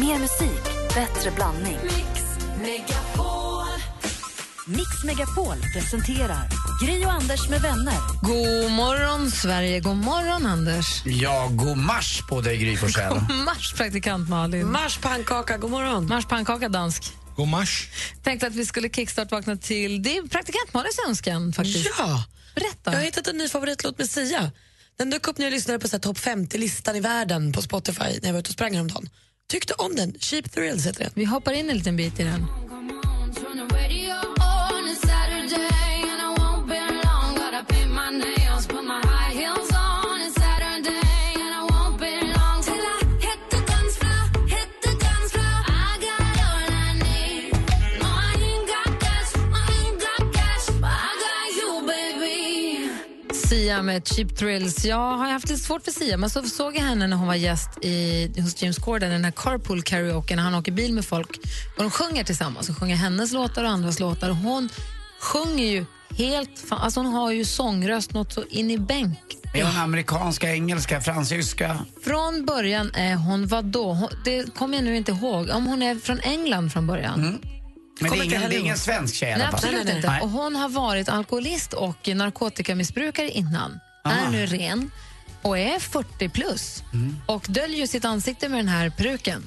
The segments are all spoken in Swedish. Mer musik, bättre blandning. Mix Megapol. Mix Megapol presenterar Gri och Anders med vänner. God morgon, Sverige. God morgon, Anders. Ja, god mars på dig, Gry Forssell. Mars, praktikant Malin. Mars pannkaka, god morgon. Mars pannkaka, dansk. God mars. Tänkte att vi skulle kickstart-vakna till det är praktikant Malins önskan. Faktiskt. Ja, Berätta. jag har hittat en ny favoritlåt med Sia. Den dök upp när jag lyssnade på så här topp 50-listan i världen på Spotify när jag var ute och sprang häromdagen. Tyckte om den. Cheap Thrills heter den. Vi hoppar in en liten bit i den. Sia med Cheap Thrills. Jag har haft lite svårt för Sia, men så såg jag henne när hon var gäst i, hos James Corden i den här carpool karaoke när han åker bil med folk och de sjunger tillsammans. De sjunger hennes låtar och andras låtar. Och Hon sjunger ju helt... Fan, alltså hon har ju sångröst något så in i bänk. Är hon amerikanska, engelska, fransyska? Från början är hon vad då? Hon, det kommer jag nu inte ihåg. Om hon är från England från början. Men det Kommer är, inte ingen, heller det är ingen ihåg. svensk tjej i alla Nej, fall. absolut Nej, nej, inte. nej. Och hon har varit alkoholist och narkotikamissbrukare innan. Är nu ren och är 40 plus Mm. och döljer sitt ansikte med den här peruken.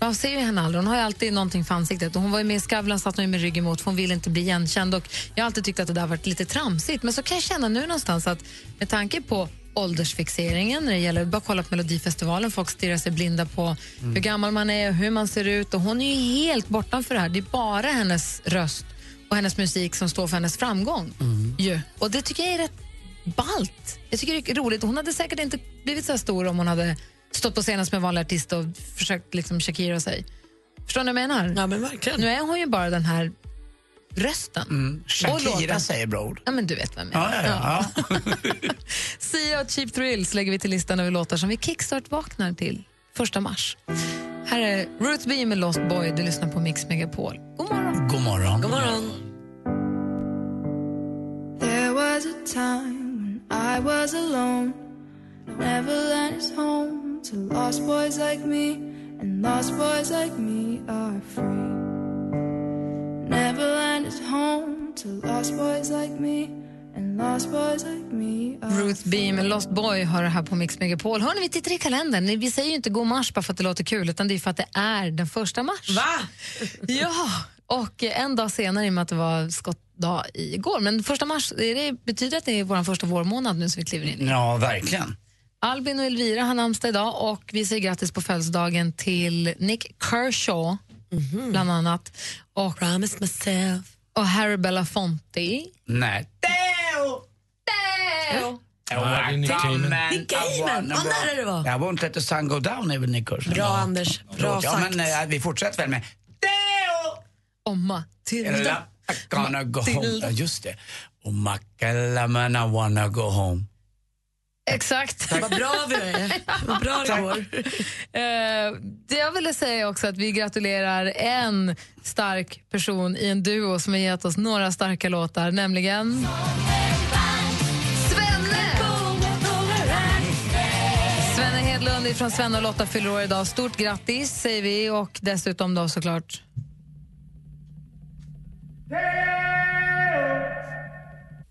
Man ser ju henne aldrig. Hon har ju alltid någonting för ansiktet. Och hon var ju med i Skavlan satt hon ju med ryggen mot för hon ville inte bli igenkänd. Och jag har alltid tyckt att det där har varit lite tramsigt. Men så kan jag känna nu någonstans att med tanke på åldersfixeringen när det gäller, bara kolla på Melodifestivalen, folk stirrar sig blinda på Mm. hur gammal man är och hur man ser ut. Och hon är ju helt bortanför det här. Det är bara hennes röst och hennes musik som står för hennes framgång. ju. Och det tycker jag är rätt balt. Jag tycker det är roligt. Hon hade säkert inte blivit så här stor om hon hade stått på scenen som en vanlig artist och försökt liksom Shakira sig. Förstår ni vad jag menar? Ja, men verkligen. Nu är hon ju bara den här rösten. Och Shakira låten. säger bror. Ja, men du vet vem jag Ja, menar. ja, ja. ja. Sia och Cheap Thrills lägger vi till listan över låtar som vi kickstart-vaknar till första mars. Här är Ruth B med Lost Boy. Du lyssnar på Mix Megapol. God morgon! God morgon. God morgon. There was a time when I was alone. Neverland is home to lost boys like me, and lost boys like me are free. Neverland is home to lost boys like me, and lost boys like me are Ruth B med Lost Boy har det här på Mix Megapol. Hörni, vi tittar i kalendern. Vi säger ju inte god mars bara för att det låter kul, utan det är för att det är den första mars. Va? Ja, och en dag senare i och med att det var skottdag igår. Men första mars är det, betyder att det är vår första vårmånad nu som vi kliver in i. Ja, verkligen. Albin och Elvira har namnsdag idag och vi säger grattis på födelsedagen till Nick Kershaw, bland annat, och, Mhm. Promise myself. och Harry Belafonte. Nej. Deo! Nej, det är Nick Cayman. Nick Cayman. Vad nära det var. I won't let the sun go down är väl Nick Cayman. Bra, Anders. Bra ja, sagt. men eh, vi fortsätter väl med Deo! Och Matilda. Eller I gonna go home. Ja, just det. Och Macalaman I wanna go home. Exakt. Vad bra vi är. Vad bra det går. Eh, det jag ville säga också att vi gratulerar en stark person i en duo som har gett oss några starka låtar, nämligen... Svenne! Svenne Hedlund från Svenne och Lotta fyller år idag. Stort grattis säger vi och dessutom då såklart...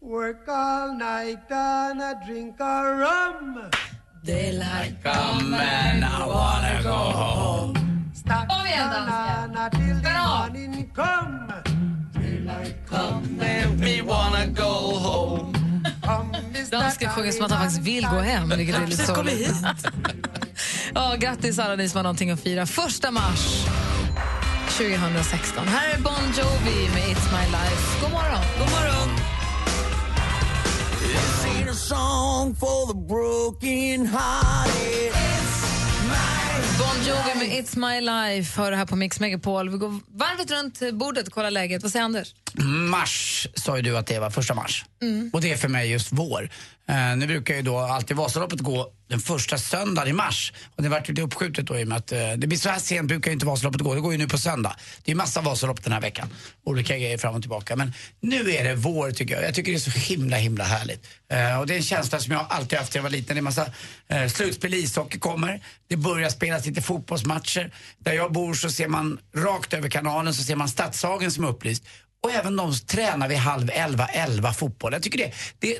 Work all night and I drink a rum. Come and I wanna go home. Stack Kom igen, banana till the Bra. morning come. We wanna go home. Come, Mr. Dansken sjunger som att han faktiskt vill gå hem, vilket är lite sorgligt. Ja, grattis alla ni som har någonting att fira. Första mars 2016. Här är Bon Jovi med It's My Life. God morgon! God morgon. Bon Jovi med It's My Life hör det här på Mix Megapol. Vi går varvet runt bordet och kollar läget. Vad säger Anders? mars sa ju du att det var första mars. Och det är för mig just vår. Eh, nu brukar ju då alltid Vasaloppet gå den första söndagen i mars. Och det vart lite uppskjutet då i och med att eh, det blir så här sent brukar ju inte Vasaloppet gå. Det går ju nu på söndag. Det är massa Vasalopp den här veckan. Olika grejer fram och tillbaka. Men nu är det vår tycker jag. Jag tycker det är så himla himla härligt. Eh, och det är en känsla som jag alltid haft när jag var liten. Det är massa eh, slutspel i ishockey kommer. Det börjar spelas lite fotbollsmatcher. Där jag bor så ser man rakt över kanalen så ser man Stadshagen som är upplyst. Och även de tränar vid halv elva, elva fotboll. Jag tycker det, det,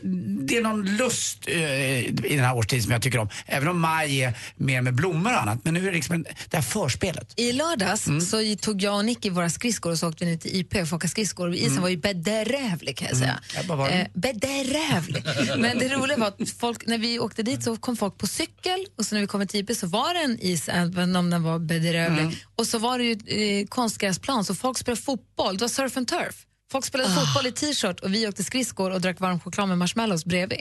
det är någon lust eh, i den här årstiden som jag tycker om. Även om maj är mer med blommor och annat. Men nu är det liksom en, det här förspelet. I lördags Mm. så tog jag och Nicky våra skridskor och så åkte vi ner till IP för att åka skridskor. Isen var ju bedrävlig kan jag säga. Mm. Ja, vad var den? Eh, bedrävlig. Men det roliga var att folk, när vi åkte dit så kom folk på cykel och så när vi kom till IP så var det en is, även om den var bedrövlig. Mm. Och så var det ju eh, konstgräsplan så folk spelade fotboll, det var surf and turf. Folk spelade Ah. fotboll i t-shirt och vi åkte skridskor och drack varm choklad med marshmallows bredvid.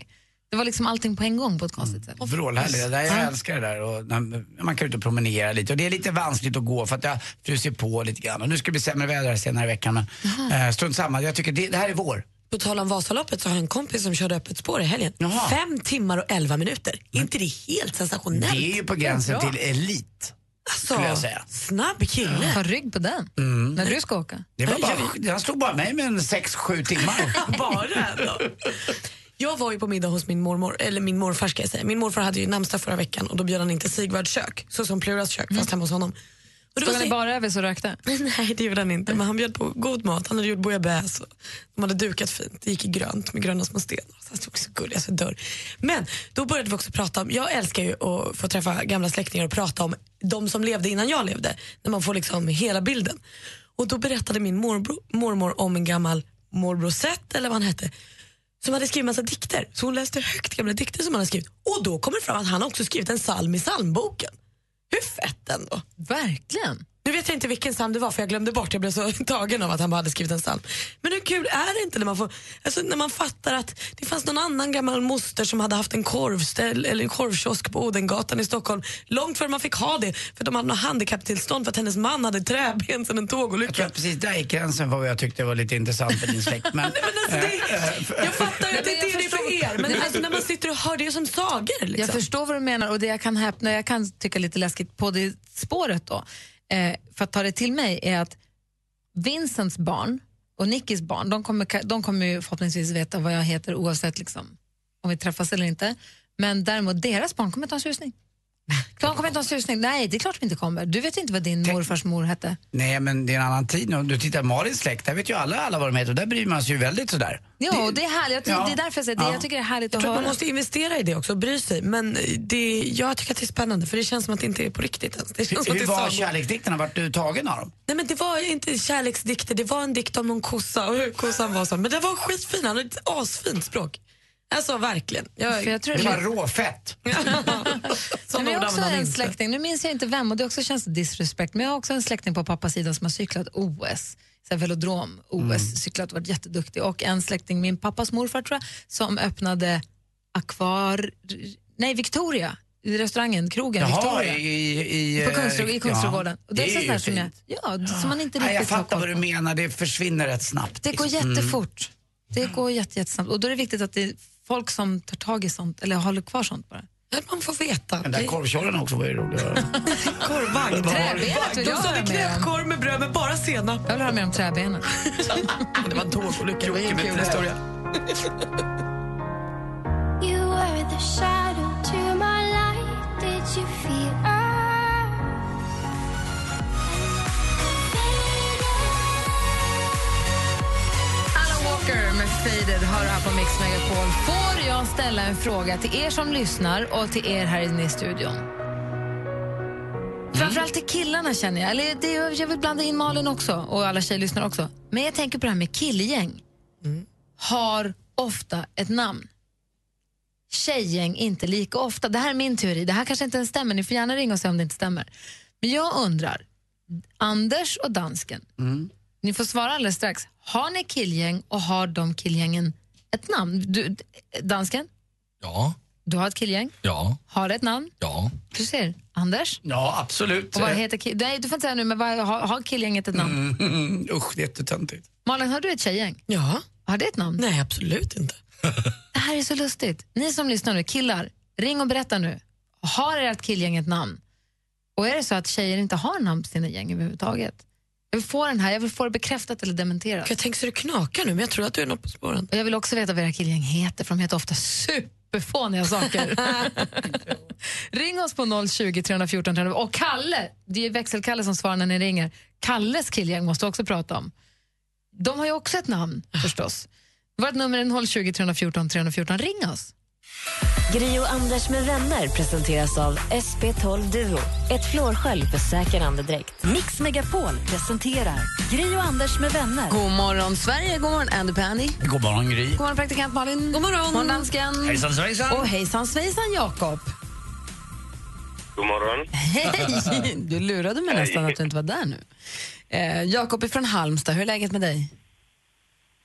Det var liksom allting på en gång på ett konstigt Mm. sätt. Vrålhärligt. Det där, jag älskar det där. Och när- man kan ut och promenera lite. Och det är lite vanskligt att gå för att jag frusit på lite grann. Och nu ska det bli sämre väder här senare i veckan. Men eh, strunt samma. Jag tycker det, det här är vår. På tal om Vasaloppet så har jag en kompis som körde öppet spår i helgen. Jaha. Fem timmar och elva minuter. Är inte det helt sensationellt? Alltså, Det är ju på gränsen till elit. skulle jag säga. Snabb kille. Ta rygg på den Mm. när du ska åka. Det var bara, han slog bara mig med en 6-7 timmar. Bara ändå. Jag var ju på middag hos min mormor, eller min morfar ska jag säga. Min morfar hade ju namnsdag förra veckan och då bjöd han inte Sigvards kök, så som Pluras kök, fast hemma hos honom. Och det var Stod han i så- bara över så rökte? Nej, det gjorde han inte. Men han bjöd på god mat. Han hade gjort bouillabaisse. och De hade dukat fint. Det gick i grönt med gröna små stenar. Så han såg så gulliga så jag dör. Men då började vi också prata om... Jag älskar ju att få träffa gamla släktingar och prata om de som levde innan jag levde. När man får liksom hela bilden. Och då berättade min morbror, mormor om en gammal morbrosett eller vad han hette som hade skrivit massa dikter. Så hon läste högt gamla dikter som han hade skrivit. Och då kommer det fram att han har också skrivit en psalm i psalmboken. Hur fett ändå? Verkligen. Nu vet jag inte vilken psalm det var för jag glömde bort. Jag blev så tagen av att han bara hade skrivit en psalm. Men hur kul är det inte när man, får, alltså när man fattar att det fanns någon annan gammal moster som hade haft en korvställ eller en korvkiosk på Odengatan i Stockholm långt före man fick ha det för de hade något handikapptillstånd för att hennes man hade träben sedan en Jag tågolycka. tror att precis där gick gränsen för vad jag tyckte var lite intressant med din släkt. Men, Nej, men alltså det, jag fattar ju att det Nej, men jag inte är förstår. det för er men alltså när man sitter och hör det är som sagor. Jag Liksom. förstår vad du menar och det jag kan häpna, jag kan tycka lite läskigt på det spåret då, eh, för att ta det till mig är att Vincents barn och Nickis barn, de kommer, ka- de kommer ju förhoppningsvis veta vad jag heter oavsett liksom, om vi träffas eller inte. Men däremot deras barn kommer inte ha en susning. De kommer inte ha en susning. Nej, det är klart de inte kommer. Du vet ju inte vad din morfars mor hette. nej, men det är en annan tid nu. Du tittar Malins släkt, där vet ju alla, alla vad de heter och där bryr man sig ju väldigt sådär. Jo, det, är härligt. Jag, ty- Ja. det är därför jag säger det. Ja. Jag tycker det är härligt Jag att tror att höra. man måste investera i det också och bry sig. Men det, jag tycker att det är spännande för det känns som att det inte är på riktigt ens. Det känns som att det Hur är var sagor. kärleksdikterna? Vart du tagen av dem? Nej men det var inte kärleksdikter, det var en dikt om någon kossa och hur kossan var så. Men det var skitfin, han hade ett asfint språk. Alltså verkligen. Jag, För jag tror Det det var råfett. sådana Men jag ord har också använder en inte. släkting, nu minns jag inte vem och det också känns disrespect, men jag har också en släkting på pappas sida som har cyklat OS, så här velodrom-OS, Mm. cyklat och varit jätteduktig. Och en släkting, min pappas morfar tror jag, som öppnade akvar... Nej, Victoria, i restaurangen, krogen Jaha, Victoria. i... i, i På Kungsträdgården, i Kungsträdgården. Ja, Och det, är sånt där ju som jag, fint. ja, det- som man inte Nej, jag riktigt har fattar koll vad du på. menar, det försvinner rätt snabbt. Det går liksom. jättefort. Det går jätte, jättesnabbt. Och då är det viktigt att det är folk som tar tag i sånt, eller håller kvar sånt bara. Att Man får veta. Den där korvkjolen också var ju rolig. Korvvagn. Träbenet vill De jag sa höra det mer om. knäppkorv med bröd med bara senap. Jag vill höra mer om träbenen. Det var en tågolycka. Det var Kul. ingen kul historia. You were the shadow to my light. Did you feel us? Alan Walker med Faded hör här på Mix Megapol. Får jag ställa en fråga till er som lyssnar och till er här inne i studion? Framförallt till killarna känner jag. Eller det, jag vill blanda in Malin också och alla tjejlyssnare också. Men jag tänker på det här med killgäng. Har ofta ett namn. Tjejgäng inte lika ofta. Det här är min teori. Det här kanske inte ens stämmer. Ni får gärna ringa och säga om det inte stämmer. Men jag undrar, Anders och dansken, ni får svara alldeles strax. Har ni killgäng och har de killgängen ett namn? Du, dansken? Ja. Du har ett killgäng, Ja, har ett namn. ja. Du ser, Anders. Ja, absolut. Och vad heter kill- Nej, du får inte säga nu, men vad, har, har killgänget ett namn? Mm, usch, det är jättetöntigt. Malin, har du ett tjejgäng? Ja, Har det ett namn? nej absolut inte. Det här är så lustigt. Ni som lyssnar nu, killar, ring och berätta nu. Har ert killgäng ett namn? Och är det så att tjejer inte har namn på sina gäng överhuvudtaget? Jag vill få den här, jag vill få det bekräftat eller dementerat. Jag tänker så det knakar nu men jag tror att du är något på spåren. Och jag vill också veta vad era killgäng heter, för de heter ofta superfåniga saker. ring oss på 020 314 314. Och Kalle, det är växelkalle som svarar när ni ringer. Kalles killgäng måste också prata om. De har ju också ett namn förstås. Vårt nummer är 020 314 314. Ring oss. Gri och Anders med vänner presenteras av SP12 Duo. Ett flårskölj för säker andedräkt. Mix Megapol presenterar Gri och Anders med vänner. God morgon, Sverige. God morgon, Andy Pandy. God God morgon, Gry. morgon, praktikant Malin. God morgon, dansken. Hejsan Och svejsan. hejsan svejsan, Jakob. God morgon. Hej! Du lurade mig nästan att du inte var där nu. Eh, Jakob är från Halmstad. Hur är läget med dig?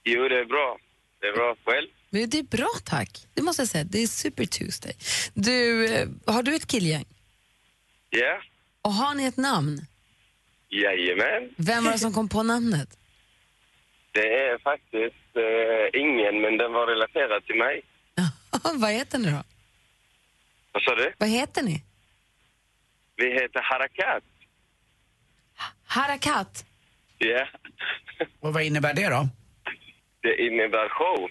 Jo, det är bra. Det är bra. Själv? Men Det är bra, tack. Det måste jag säga. Det är super Tuesday. Du, eh, har du ett killgäng? Ja. Och har ni ett namn? Jajamän. Vem var det som kom på namnet? Det är faktiskt eh, ingen, men den var relaterad till mig. Vad heter ni då? Vad sa du? Vad heter ni? Vi heter Harakat. Harakat. Ja. Och vad innebär det då? Det innebär show.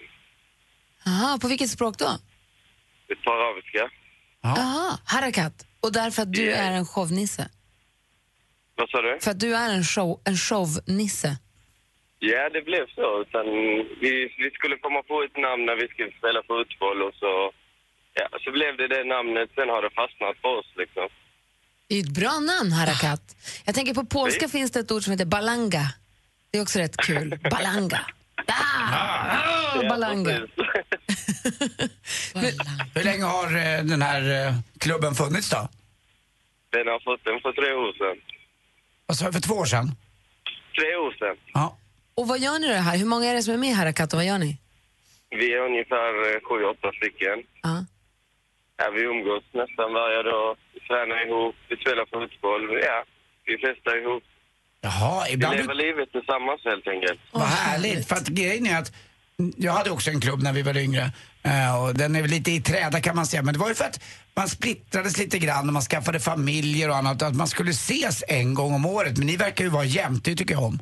Aha, på vilket språk då? Ett par arabiska. Aha, Harakat. Och därför att du är en shownisse? Vad sa du? För att du är en, show, en shownisse. Ja, det blev så. Utan vi, vi skulle komma på ett namn när vi skulle spela fotboll och så... Ja, så blev det det namnet. Sen har det fastnat på oss, liksom. Det är ett bra namn, Harakat. Jag tänker på polska finns det ett ord som heter balanga. Det är också rätt kul. Balanga. Ah! Ah, balanga. Precis. Hur länge har eh, den här eh, klubben funnits då? Den har fått den för tre år sedan. Vad sa jag, för två år sedan? Tre år sedan. Ja. Och vad gör ni då här? Hur många är det som är med i Harakat och vad gör ni? Vi är ungefär eh, sju, åtta stycken. Ja. Ja, vi umgås nästan varje dag. Vi tränar ihop, vi spelar fotboll. Ja, vi festar ihop. Jaha, Vi ibland... lever livet tillsammans helt enkelt. Vad härligt. För att grejen är att jag hade också en klubb när vi var yngre. eh, Och den är väl lite i träda kan man säga. Men det var ju för att man splittrades lite grann och man skaffade familjer och annat. Att man skulle ses en gång om året. Men ni verkar ju vara jämt, det tycker jag om.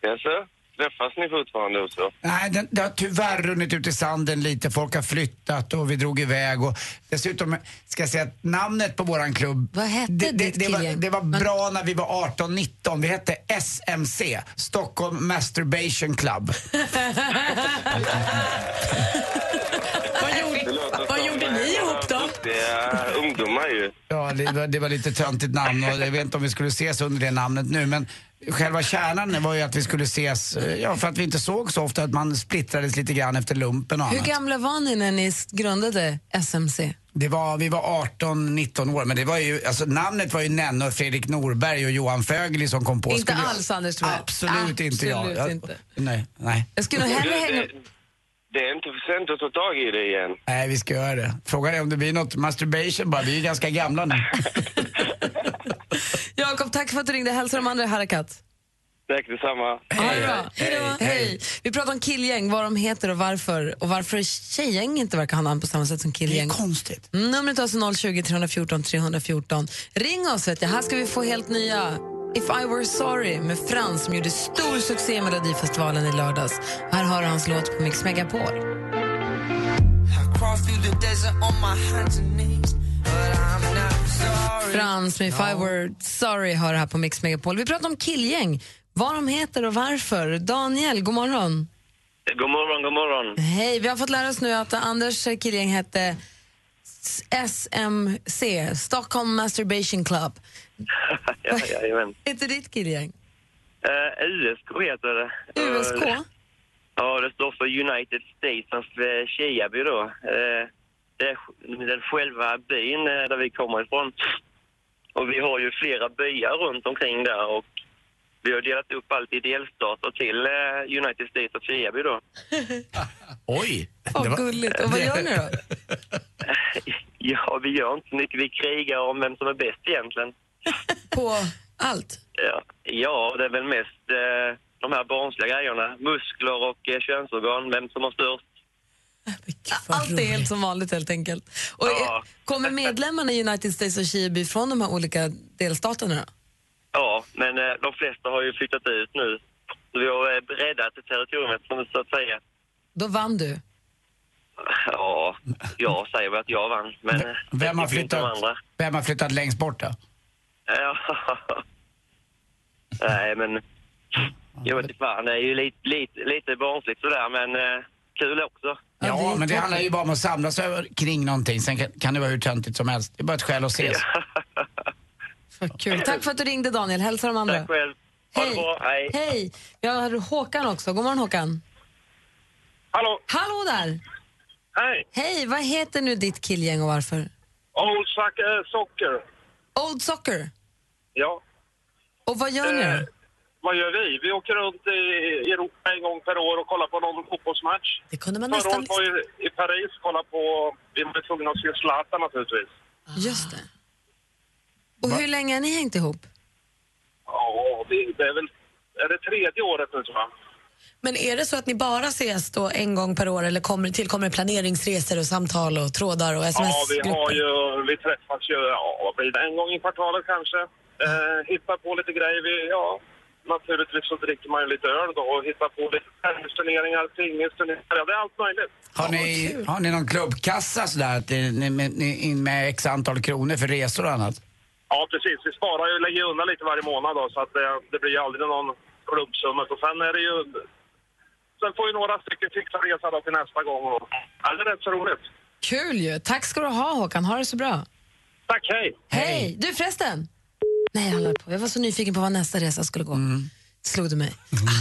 Jaså? Träffas ni fortfarande och så? Nej, den, det har tyvärr runnit ut i sanden lite. Folk har flyttat och vi drog iväg. Och dessutom ska jag säga att namnet på våran klubb... Vad hette det, det, ditt det, var, killgäng? det var bra när vi var 18-19. Vi hette SMC, Stockholm Masturbation Club. Vad gjorde, låter vad som, gjorde eh, ni några ihop då? duktiga ungdomar ju. Ja, det var, det var lite töntigt namn och jag vet inte om vi skulle ses under det namnet nu men själva kärnan var ju att vi skulle ses, eh, ja för att vi inte såg så ofta, att man splittrades lite grann efter lumpen och Hur annat. gamla var ni när ni s- grundade SMC? Det var, vi var 18-19 år men det var ju, alltså namnet var ju Nenne och Fredrik Norberg och Johan Fögeli som kom på. Inte Skulle jag- alls, Anders, tror jag. Absolut, inte jag. Absolut jag inte. Nej, nej. Jag skulle nog hellre Du, hänga... det, det är inte för sent att ta tag i det igen. Nej, vi ska göra det. Frågan är om det blir något masturbation bara, vi är ju ganska gamla nu. Jakob, tack för att du ringde. Hälsa de andra i Harakat. Tack detsamma. Ha det bra. Hej, Hej. Vi pratar om killgäng, vad de heter och varför. Och varför tjejgäng inte verkar ha namn på samma sätt som Det är killgäng. konstigt. Numret är alltså 020 314 314. Ring oss, vet jag. här ska vi få helt nya If I Were Sorry med Frans som gjorde stor succé i Melodifestivalen i lördags. Här har du hans låt på Mix Megapol. Frans med If I Were Sorry hör här på Mix Megapol. Vi pratar om killgäng, vad de heter och varför. Daniel, god morgon. God morgon, god morgon. Hej, vi har fått lära oss nu att Anders killgäng hette SMC, Stockholm Masturbation Club. Ja, jajamän. Heter ditt killgäng? Uh, USK heter det. USK? Eh, Ja, det står för United States of eh, Shiaby då. Eh, Det är sj- den själva byn eh, där vi kommer ifrån. Och vi har ju flera byar runt omkring där och vi har delat upp allt i delstater till eh, United States of Shiaby då. Oj! Åh, det var- gulligt. Och vad gör ni då? Ja, vi gör inte så mycket. Vi krigar om vem som är bäst egentligen. På allt? Ja, ja det är väl mest eh, de här barnsliga grejerna. Muskler och eh, könsorgan, vem som har störst. Allt är helt som vanligt helt enkelt. Och är- Ja. Kommer medlemmarna i United States och Chibi från de här olika delstaterna då? Ja, men eh, de flesta har ju flyttat ut nu. Så vi har eh, räddat territoriet, som så att säga. Då vann du. Ja, jag säger väl att jag vann, men... eh, Vem har det finns de flyttat, andra. vem har flyttat längst bort då? Ja. Nej, men... Jag vet inte fan, det är ju lite, lite, lite barnsligt sådär, men eh, kul också. Ja, det är men det klart. handlar ju bara om att samlas över, kring någonting. Sen kan, kan det vara hur töntigt som helst. Det är bara ett skäl att ses. Vad kul. Tack för att du ringde Daniel. Hälsa de andra. Tack själv. Ha det bra, hej. Hej. Jag har Håkan också. God morgon Håkan. Hallå, Hallå där. hej. Hej, vad heter nu ditt killgäng och varför? Old Suck Socker. Old Soccer. Ja. Och vad gör ni Eh, då? Vad gör vi? Vi åker runt i Europa en gång per år och kollar på någon fotbollsmatch. Det kunde man Förra nästan... året var vi i Paris och kollade på... Vi var tvungna att se Zlatan naturligtvis. Just det. Och hur länge har ni hängt ihop? Ja, det, det är väl... Är det tredje året nu, tror jag? Men är det så att ni bara ses då en gång per år eller kommer, tillkommer planeringsresor och samtal och trådar och Ja, vi sms-grupper? har ju... Vi träffas ju, ja, vad blir det? En gång i kvartalet kanske. Eh, hittar på lite grejer. Vi, ja, naturligtvis så dricker man ju lite öl då och hittar på lite tennisturneringar, pingisturneringar. Ja, det är allt möjligt. Har ni, har ni någon klubbkassa sådär? Att ni, ni, ni in med x antal kronor för resor och annat? Ja, precis. Vi sparar ju, lägger undan lite varje månad då, så att det, det blir ju aldrig någon klubbsumma. Och sen är det ju... Sen får ju några stycken fixa resa då till nästa gång. Och, ja, det är rätt så roligt. Kul ju. Tack ska du ha Håkan. Ha det så bra. Tack, hej! Hej! Du förresten! Nej, jag håller på. Jag var så nyfiken på vad nästa resa skulle gå. Slog du mig.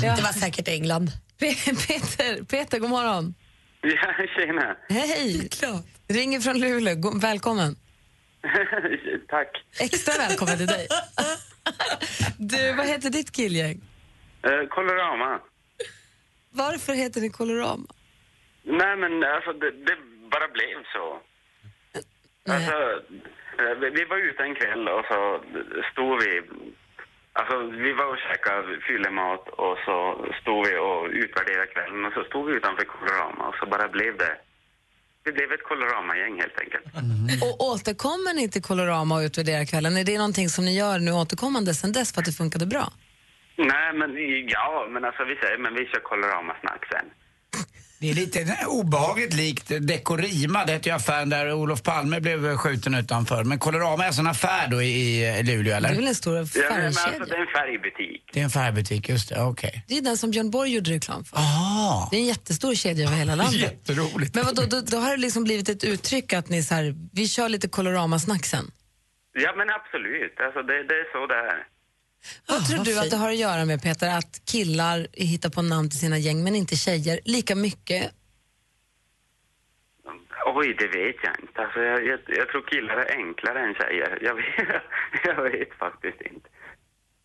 Ja. Mm. Det var säkert England. Pe- Peter, Peter, god morgon. Ja, tjena. Hej! Klart. Ringer från Luleå. Go- Välkommen. Tack. Extra välkommen till dig. Du, vad heter ditt killgäng? Eh, Colorama. Varför heter ni Colorama? Nej, men alltså, det, det bara blev så. Alltså, eh, vi- vi var ute en kväll och så stod vi... Alltså, vi var och käkade fyllemat och så stod vi och utvärderade kvällen och så stod vi utanför Colorama och så bara blev det... Det blev ett Colorama-gäng helt enkelt. Och återkommer ni till Colorama och utvärderar kvällen? Är det någonting som ni gör nu återkommande sen dess för att det funkade bra? Nej, men ja, men alltså vi säger, men vi kör Colorama-snack sen. Det är lite obehagligt likt Dekorima, det heter ju affären där Olof Palme blev skjuten utanför. Men Colorama är alltså en affär då i i Luleå Det är eller? väl en stor Ja, men alltså, det färgkedja? är en färgbutik. Det är en färgbutik, just det, okej. Det är den som Björn Borg gjorde reklam för. Ah, Det är en jättestor kedja över hela landet. jätteroligt. Men vadå, då, då har det liksom blivit ett uttryck att ni så här, vi kör lite Colorama-snack sen. Ja, men absolut. Alltså, det, det är så det är. Vad tror Ah, vad du att fint. det har att göra med Peter, att killar hittar på namn till sina gäng men inte tjejer lika mycket? Oj, det vet jag inte. Alltså, jag, jag, jag tror killar är enklare än tjejer. Jag vet, jag vet faktiskt inte.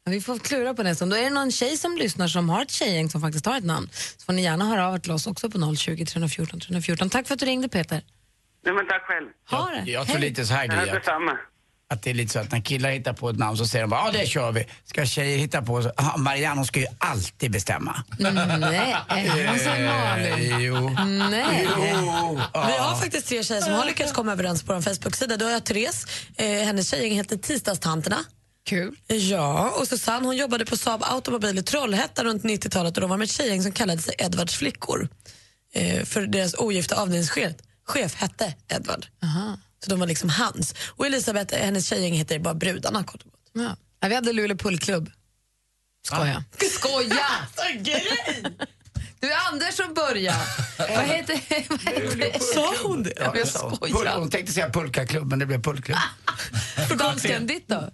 Ja, Vi får klura på det sen. Då är det någon tjej som lyssnar som har ett tjejgäng som faktiskt har ett namn så får ni gärna höra av er till oss också på 020 314 314. Tack för att du ringde Peter. Nej, men tack själv. Ha det! Jag tror Hej. lite så här Ja, Gry, att- detsamma. att det är lite så att när killar hittar på ett namn så säger de bara ja det kör vi. Ska tjejer hitta på så, ah, Marianne hon ska ju alltid bestämma. Mm, Nej, han sa Malin. Eh, jo. Nej. Jo. Vi har Ja. faktiskt tre tjejer som har lyckats komma överens på vår Facebook-sida. Då har jag Therese, eh, hennes tjejgäng heter Tisdagstanterna. Kul. Ja, och Susanne hon jobbade på Saab Automobil i Trollhättan runt 90-talet och de var med ett tjejgäng som kallade sig Edvards flickor. Eh, för deras ogifta avdelningschef chef hette Edvard. Så de var liksom hans. Och Elisabeth, hennes tjejgäng heter bara Brudarna kort och gott. Ja. Ja, vi hade Luleå pullklubb. Ah. Skoja. Skoja! Du är Anders som börjar. Vad heter, vad heter Sa hon det? Ja, jag så. skojar. Ah. Pul- Hon tänkte säga pulkaklubb men det blev pulkklubb. dansken ditt då?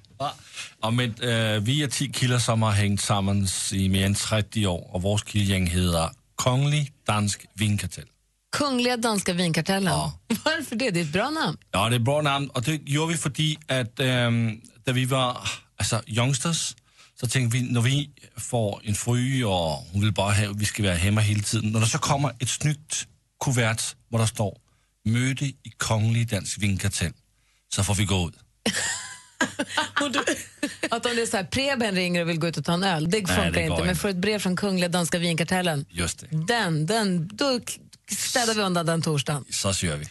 Og men, øh, vi er 10 kilder, som har hængt sammen i mere end 30 år, og vores kildegæng hedder Kongelig Dansk Vinkartel. Kungliga Danska Vinkartellen. Varför det? Det är ett bra namn. Ja, det er et bra navn, og det gjorde vi, fordi at øh, da vi var altså, youngsters, så tænkte vi, når vi får en fry, og hun vil bare have, at vi skal være hjemme hele tiden, når der så kommer et snydt kuvert, hvor der står, møde i Kongelige Dansk Vinkartel, så får vi gå ud. Och du, Att om det är så här, Preben ringer och vill gå ut och ta en öl, det funkar det går inte. Men inte. får ett brev från Kungliga Danska Vinkartellen, Just det, den, den, då k- städar vi undan den torsdagen. så kör vi.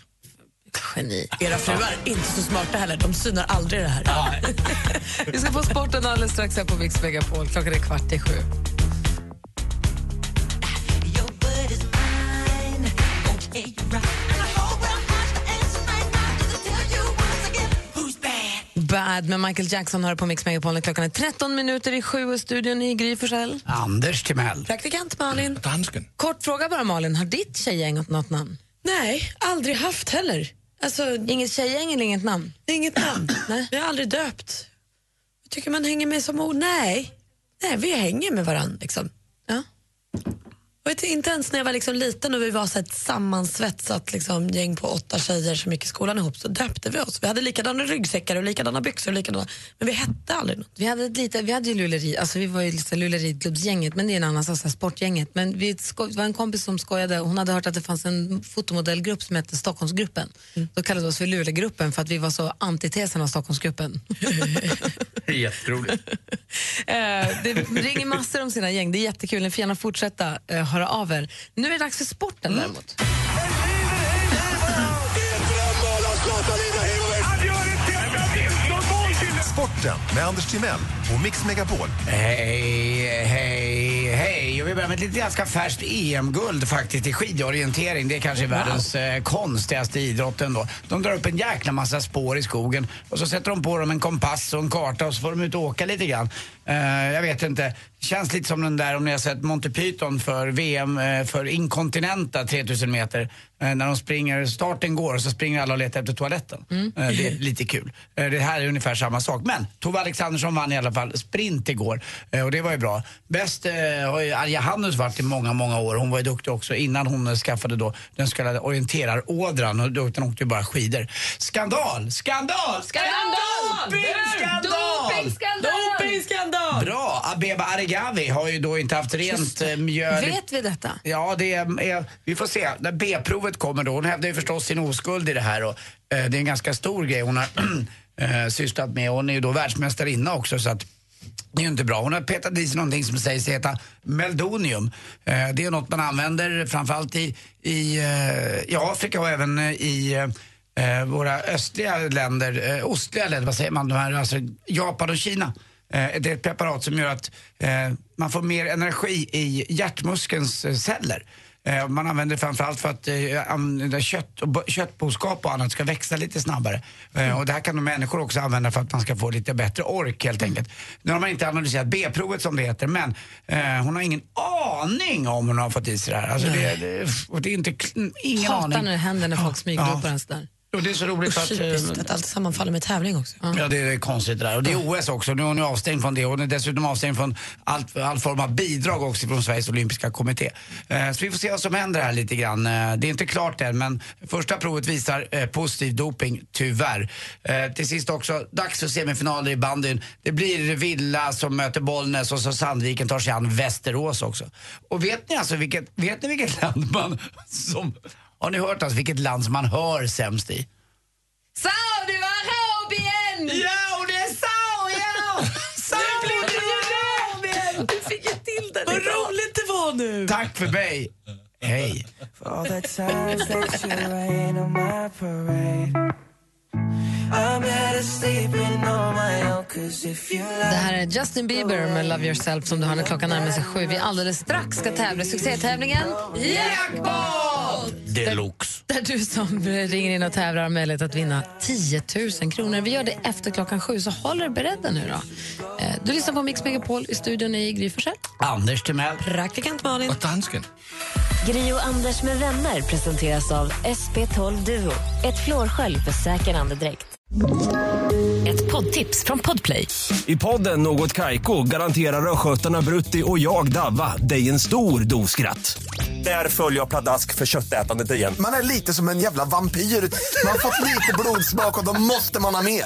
Geni. era fruar, inte så smarta heller. De synar aldrig det här. Vi ska få sporten alldeles strax här på Mix Megapol. Klockan är kvart i sju. Bad med Michael Jackson har på Mix Megapol. när Klockan är 13 minuter i sju och studion i Gry Forssell. Anders Timell. Praktikant Malin. Dansken. Kort fråga bara Malin, har ditt tjejgäng något namn? Nej, aldrig haft heller. Alltså, Inget tjejgäng eller inget namn? inget namn. Nej. Vi har aldrig döpt. Jag tycker man hänger med som ord. Nej, Nej vi hänger med varandra. Liksom. Ja. Och inte, inte ens när jag var liksom liten och vi var så här ett sammansvetsat liksom, gäng på åtta tjejer som gick i skolan ihop så döpte vi oss. Vi hade likadana ryggsäckar och likadana byxor. Och likadana, men vi hette aldrig något. Vi hade, ett lite, vi hade ju luleri, alltså vi var ju liksom luleriklubbsgänget, men det är en annan sak, så här sportgänget. Men vi sko- det var en kompis som skojade, hon hade hört att det fanns en fotomodellgrupp som hette Stockholmsgruppen. Då kallade vi oss för Lulegruppen för att vi var så antitesen av Stockholmsgruppen. Jätteroligt. Eh, det ringer massor om sina gäng, det är jättekul, ni får gärna fortsätta eh, höra av er. Nu är det dags för sporten däremot. Sporten med Anders Timell och Mix Megapol. Hej, hej, hej. Och vi börjar med ett lite ganska färskt EM-guld faktiskt i skidorientering. Det är kanske världens eh, konstigaste idrott ändå. De drar upp en jäkla massa spår i skogen och så sätter de på dem en kompass och en karta och så får de ut och åka lite grann. Eh, jag vet inte. Känns lite som den där om ni har sett Monty Python för VM eh, för inkontinenta 3000 meter. Eh, när de springer, starten går och så springer alla och letar efter toaletten. Eh, det är lite kul. Eh, det här är ungefär samma sak. Men Tove Alexandersson vann i alla fall sprint igår eh, och det var ju bra. Bäst eh, har ju Arja Hannus varit i många, många år. Hon var ju duktig också innan hon eh, skaffade då den så kallade orienterarådran. och då- Utan åkte ju bara skidor. Skandal! Skandal! Skandal! Dopingskandal! Dopingskandal! Bra! Abeba Aregawi har ju då inte haft rent eh, mjöl i Vet vi detta? Ja, det är, vi får se. När B-provet kommer då. Hon hävdar ju förstås sin oskuld i det här och eh, det är en ganska stor grej hon har eh, sysslat med. Hon är ju då världsmästarinna också så att det är ju inte bra. Hon har petat i sig någonting som sägs heta meldonium. Eh, det är något man använder framförallt i, i, eh, i Afrika och även eh, i eh, våra östliga länder, eh, ostliga länder, vad säger man, de här, alltså Japan och Kina. Eh, Det är ett preparat som gör att eh, man får mer energi i hjärtmuskelns eh, celler. Eh, Man använder det framförallt för att eh, använda kött och bo- köttboskap och annat ska växa lite snabbare. Eh, Och det här kan de människor också använda för att man ska få lite bättre ork helt enkelt. Nu har man inte analyserat B-provet som det heter men eh, hon har ingen aning om hon har fått i sig det här. Alltså det, det, och det är inte, kl- ingen Hatar aning. när det händer när folk smygropar ja. ens där. Och det är så roligt för att... eh, Typiskt att allt sammanfaller med tävling också. Ja, det är konstigt det där. Och det är OS också. Nu är hon ju avstängd från det. Hon är dessutom avstängd från all, all form av bidrag också från Sveriges olympiska kommitté. Eh, så vi får se vad som händer här lite grann. Eh, det är inte klart än, men första provet visar eh, positiv doping, tyvärr. Eh, till sist också, dags för semifinaler i bandyn. Det blir Villa som möter Bollnäs och så Sandviken tar sig an Västerås också. Och vet ni alltså vilket, vet ni vilket land man som... Har ni hört alltså vilket land som man hör sämst i? Saudiarabien! Ja, och det är Sao, ja! Sao blev miljonär! Du fick ju till det. Vad roligt det var nu! Tack för mig. Hej. All the times that you rain on my parade. I'm better sleeping on my own, cause if you Det här är Justin Bieber med Love Yourself som du har när klockan närmar sig sju. Vi alldeles strax ska tävla i succétävlingen Jackpot! Deluxe. Där du som ringer in och tävlar har möjlighet att vinna 10 000 kronor. Vi gör det efter klockan sju, så håll er beredda nu då. Eh, Du lyssnar på Mix Megapol i studion i Gry Forssell. Anders Timell. Praktikant Malin. Och dansken. Gri och Anders med vänner presenteras av SP12 Duo. Ett flårskölj för säker andedräkt. Ett poddtips från Podplay. I podden Något Kaiko garanterar östgötarna Brutti och jag, Davva, dig en stor dos skratt. Där följer jag pladask för köttätandet igen. Man är lite som en jävla vampyr. Man har fått lite blodsmak och då måste man ha mer.